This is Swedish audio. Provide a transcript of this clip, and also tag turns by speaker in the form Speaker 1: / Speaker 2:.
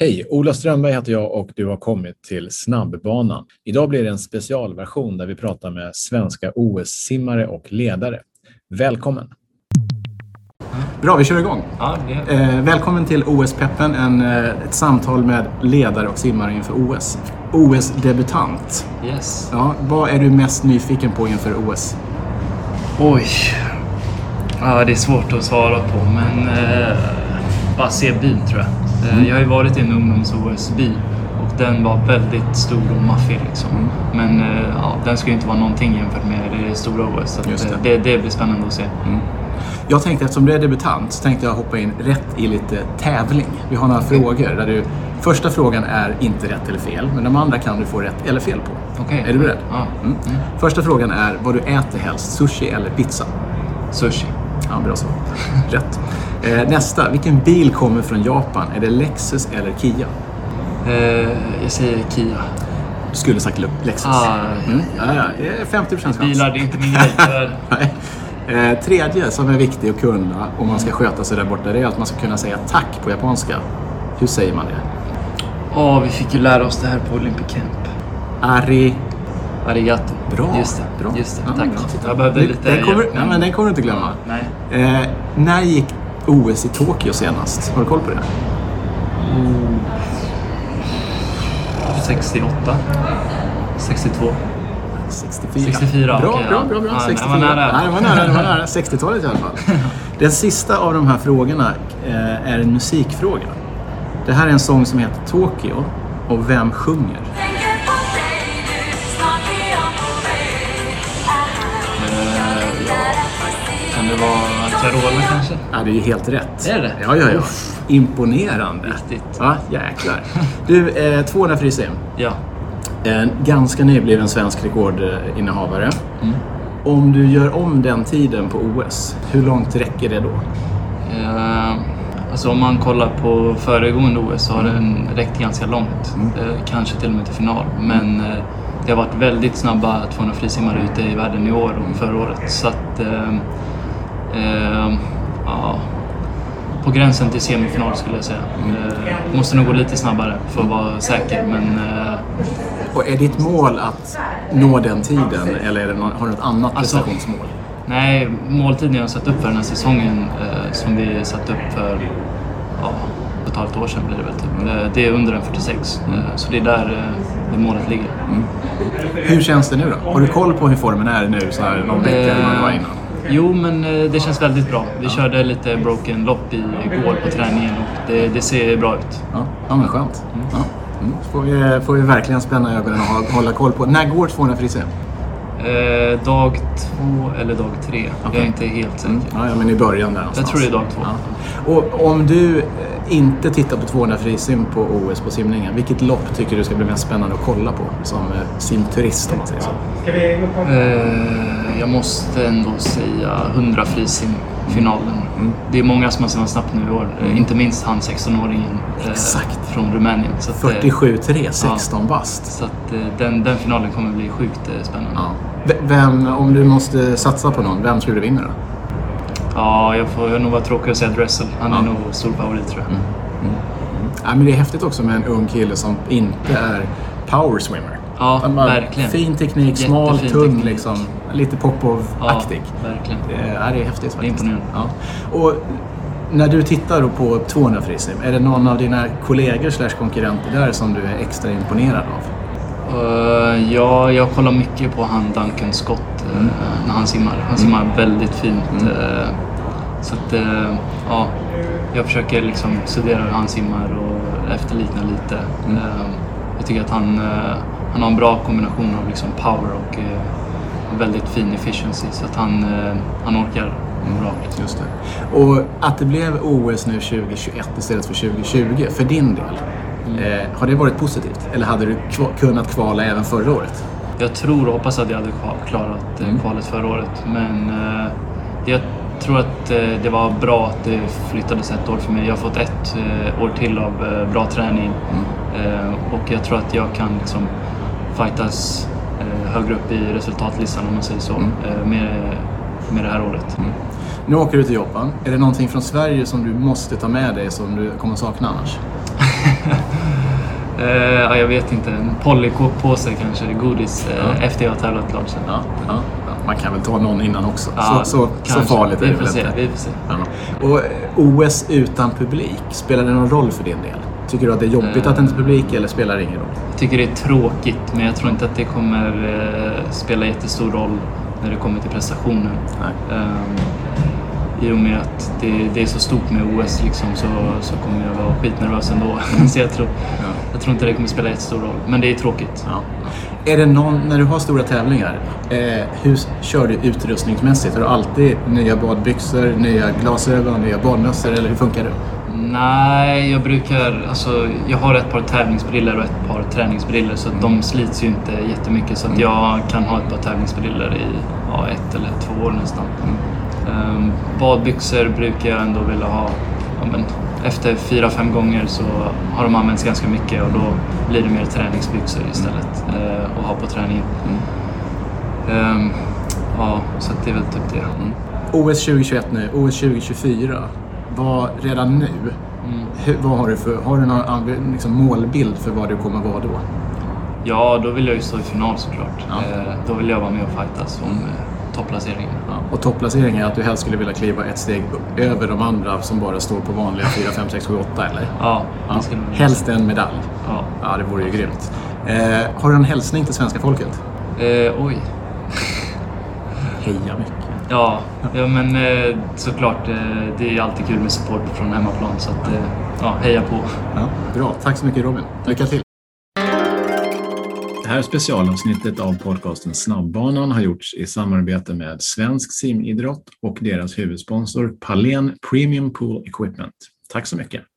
Speaker 1: Hej! Ola Strömberg heter jag och du har kommit till Snabbbanan. Idag blir det en specialversion där vi pratar med svenska OS-simmare och ledare. Välkommen! Bra, vi kör igång.
Speaker 2: Ja, det,
Speaker 1: Eh, välkommen till OS-peppen, en, eh, ett samtal med ledare och simmare inför OS. OS-debutant.
Speaker 2: yes.
Speaker 1: Ja, vad är du mest nyfiken på inför OS?
Speaker 2: Oj. Ja, det är svårt att svara på, men eh, bara se byn tror jag. Eh, Jag har ju varit i en ungdoms-OS-by och den var väldigt stor och maffig liksom. Men eh, ja, den skulle inte vara någonting jämfört med det stora OS. Så att,
Speaker 1: Just det.
Speaker 2: eh, Det, Mm. det blir spännande att se.
Speaker 1: Jag tänkte, eftersom du är debutant, så tänkte jag hoppa in rätt i lite tävling. Vi har några frågor där du... Första frågan är inte rätt eller fel, men de andra kan du få rätt eller fel på.
Speaker 2: Okej.
Speaker 1: Är du beredd?
Speaker 2: Ja.
Speaker 1: Mm. Första frågan är vad du äter helst, sushi eller pizza?
Speaker 2: Sushi.
Speaker 1: Ja, bra svar. Rätt. Eh, nästa, vilken bil kommer från Japan? Är det Lexus eller Kia?
Speaker 2: Eh, jag säger Kia.
Speaker 1: Du skulle sagt Le- Lexus.
Speaker 2: Ah,
Speaker 1: Mm. Ja, ja, det är 50 chans.
Speaker 2: Bilar, det är inte min grej tyvärr.
Speaker 1: Nej. Eh, tredje som är viktig att kunna om man ska sköta sig där borta, det är att man ska kunna säga tack på japanska. Hur säger man det?
Speaker 2: Åh, vi fick ju lära oss det här på Olympic Camp.
Speaker 1: Ari...
Speaker 2: Arigato.
Speaker 1: Bra!
Speaker 2: Just det.
Speaker 1: bra.
Speaker 2: Just det.
Speaker 1: Ja,
Speaker 2: Tack.
Speaker 1: bra. Titta.
Speaker 2: Jag behövde
Speaker 1: Den-
Speaker 2: lite
Speaker 1: Den kommer,
Speaker 2: hjälp,
Speaker 1: ja, men den kommer du inte glömma.
Speaker 2: Nej.
Speaker 1: Eh, när gick OS i Tokyo senast? Har du koll på det?
Speaker 2: 68. 62.
Speaker 1: 64.
Speaker 2: 64,
Speaker 1: Bra,
Speaker 2: okej,
Speaker 1: bra,
Speaker 2: ja.
Speaker 1: bra. bra.
Speaker 2: Ja, det var
Speaker 1: 64.
Speaker 2: nära.
Speaker 1: Nej, det var nära. Det var nära. 60-talet i alla fall. Den sista av de här frågorna eh, är en musikfråga. Det här är en sång som heter Tokyo och vem sjunger?
Speaker 2: Kan det vara Carola kanske?
Speaker 1: Ja, det är ju helt rätt.
Speaker 2: Är det?
Speaker 1: Ja, ja, ja. Imponerande.
Speaker 2: Riktigt.
Speaker 1: Ja, jäklar. Du, eh, 200 frisim.
Speaker 2: Ja.
Speaker 1: En ganska nybliven svensk rekordinnehavare.
Speaker 2: Mm.
Speaker 1: Om du gör om den tiden på OS, hur långt räcker det då?
Speaker 2: Eh, alltså om man kollar på föregående OS så har den räckt ganska långt. Eh, kanske till och med till final. Men eh, det har varit väldigt snabba 200 frisimmare ute i världen i år och förra året. Så att... Eh, eh, ja. På gränsen till semifinal skulle jag säga. Eh, måste nog gå lite snabbare för att vara säker men... Eh,
Speaker 1: Och är ditt mål att nå den tiden eller är det någon, har du något annat
Speaker 2: Alltså-
Speaker 1: prestationsmål?
Speaker 2: Nej, måltiden jag har satt upp för den här säsongen eh, som vi satte upp för ja, ett halvt år sedan blir det väl typ. Eh, det är under en 46. Eh, så det är där eh, det målet ligger.
Speaker 1: Hur känns det nu då? Har du koll på hur formen är nu så här någon vecka eller vad det
Speaker 2: Eh.
Speaker 1: var innan?
Speaker 2: jo, men eh, det känns väldigt bra. Vi körde lite broken lopp igår på träningen och det, det ser bra ut.
Speaker 1: Ja, ja men skönt. Ja. Mm. Så Får, vi, får vi verkligen spänna ögonen och ha- hålla koll på. När går 200 frisim?
Speaker 2: Eh, dag två eller dag tre. Jag
Speaker 1: Okej.
Speaker 2: är inte helt säker.
Speaker 1: Ja, ja, men i början där någonstans.
Speaker 2: Jag tror det är dag två.
Speaker 1: Ja. Och om du eh, inte tittar på 200 frisim på OS på simningen, vilket lopp tycker du ska bli mest spännande att kolla på som eh, simturist om man säger så?
Speaker 2: Eh, jag måste ändå säga 100 frisim finalen.
Speaker 1: Mm.
Speaker 2: Det är många som har simmat snabbt nu i år. Eh, Inte minst han 16-åringen eh,
Speaker 1: Exakt.
Speaker 2: från Rumänien. Så att, eh,
Speaker 1: 47-3, 16 bast.
Speaker 2: Så att eh, den, den finalen kommer bli sjukt eh, spännande.
Speaker 1: Ja. V- Vem, om du måste satsa på någon, vem skulle du vinna då?
Speaker 2: Ja, jag får nog vara tråkig och säga Dressel. Han är nog stor favorit tror
Speaker 1: Mm.
Speaker 2: jag.
Speaker 1: Ja, men det är häftigt också med en ung kille som inte är power swimmer.
Speaker 2: Ja,
Speaker 1: Utan bara
Speaker 2: verkligen.
Speaker 1: Fin teknik, smal,
Speaker 2: Jättefin
Speaker 1: tunn
Speaker 2: teknik.
Speaker 1: liksom. Lite Popov-aktig.
Speaker 2: Ja, verkligen.
Speaker 1: Det är- Ja, det är häftigt faktiskt.
Speaker 2: imponerande.
Speaker 1: Ja. Och när du tittar då på 200 frisim, är det någon av dina kollegor slash konkurrenter där som du är extra imponerad av?
Speaker 2: Eh, ja, jag kollar mycket på han Duncan Scott eh, när han simmar. Han simmar väldigt fint. eh, så att, eh, ja, jag försöker liksom studera hur han simmar och efterlikna lite. Eh, jag tycker att han, eh, han har en bra kombination av liksom power och eh, väldigt fin efficiency så att han, eh, han orkar bra. liksom.
Speaker 1: Just det. Och att det blev OS nu 2021 istället för 2020 för din del,
Speaker 2: Mm.
Speaker 1: eh, har det varit positivt? Eller hade du kva- kunnat kvala även förra året?
Speaker 2: Jag tror och hoppas att jag hade kva- klarat eh,
Speaker 1: Mm.
Speaker 2: kvalet förra året. Men eh, jag tror att eh, det var bra att det flyttades ett år för mig. Jag har fått ett eh, år till av eh, bra träning.
Speaker 1: Mm.
Speaker 2: Eh, och jag tror att jag kan liksom fightas eh, högre upp i resultatlistan om man säger så.
Speaker 1: Mm.
Speaker 2: Eh, med, med det här året.
Speaker 1: Nu åker du till Japan. Är det någonting från Sverige som du måste ta med dig som du kommer sakna annars?
Speaker 2: Eh, ja, jag vet inte. En Polly-påse kanske, godis, eh,
Speaker 1: Ja.
Speaker 2: efter jag har tävlat klart sen.
Speaker 1: Ja, ja. Man kan väl ta någon innan också.
Speaker 2: Ja,
Speaker 1: så, så, så
Speaker 2: kanske.
Speaker 1: farligt är
Speaker 2: vi
Speaker 1: det
Speaker 2: får
Speaker 1: väl
Speaker 2: se,
Speaker 1: inte.
Speaker 2: Vi får se.
Speaker 1: Ja. Och eh, OS utan publik, spelar det någon roll för din del? Tycker du att det är
Speaker 2: Mm.
Speaker 1: jobbigt att det inte är publik eller spelar det ingen roll?
Speaker 2: Jag tycker det är tråkigt, men jag tror inte att det kommer eh, spela jättestor roll när det kommer till prestationen.
Speaker 1: Nej.
Speaker 2: Ehm, I och med att det, det är så stort med OS liksom, så, så kommer jag vara skitnervös ändå. så jag tror, jag tror inte det kommer spela jättestor roll, men det är tråkigt.
Speaker 1: Ja. Är det någon, när du har stora tävlingar, eh, hur s- kör du utrustningsmässigt? Har du alltid nya badbyxor, nya glasögon, nya badmössor eller hur funkar det?
Speaker 2: Nej, jag brukar... Alltså, jag har ett par tävlingsbriller och ett par träningsbriller så att de slits ju inte jättemycket så att jag kan ha ett par tävlingsbriller i ja, ett eller två år nästan. Ehm, badbyxor brukar jag ändå vilja ha. Ja, men, efter fyra, fem gånger så har de använts ganska mycket och då blir det mer träningsbyxor istället eh, att ha på träningen. Ehm, ja, så att det är väl typ det.
Speaker 1: OS 2021 nu, OS 2024. Vad, redan nu,
Speaker 2: Mm.
Speaker 1: hur, vad har du för har du någon anv- liksom målbild för vad du kommer vara då?
Speaker 2: Ja, då vill jag ju stå i final såklart.
Speaker 1: Ja.
Speaker 2: Eh, Då vill jag vara med och fightas om eh, topplaceringen.
Speaker 1: Och topplaceringen är att du helst skulle vilja kliva ett steg upp- över de andra som bara står på vanliga 4, 5, 6, 7, 8 eller?
Speaker 2: Ja, det
Speaker 1: Ja.
Speaker 2: skulle man
Speaker 1: Helst en medalj.
Speaker 2: Ja.
Speaker 1: Ja, det vore ju grymt. Eh, har du en hälsning till svenska folket?
Speaker 2: Eh, oj.
Speaker 1: Heja mycket.
Speaker 2: Ja, ja men eh, såklart. eh, Det är alltid kul med support från hemmaplan så att, eh, ja, heja på.
Speaker 1: Ja, bra, tack så mycket Robin. Lycka till. Det här specialavsnittet av podcasten Snabbbanan har gjorts i samarbete med Svensk simidrott och deras huvudsponsor Palen Premium Pool Equipment. Tack så mycket.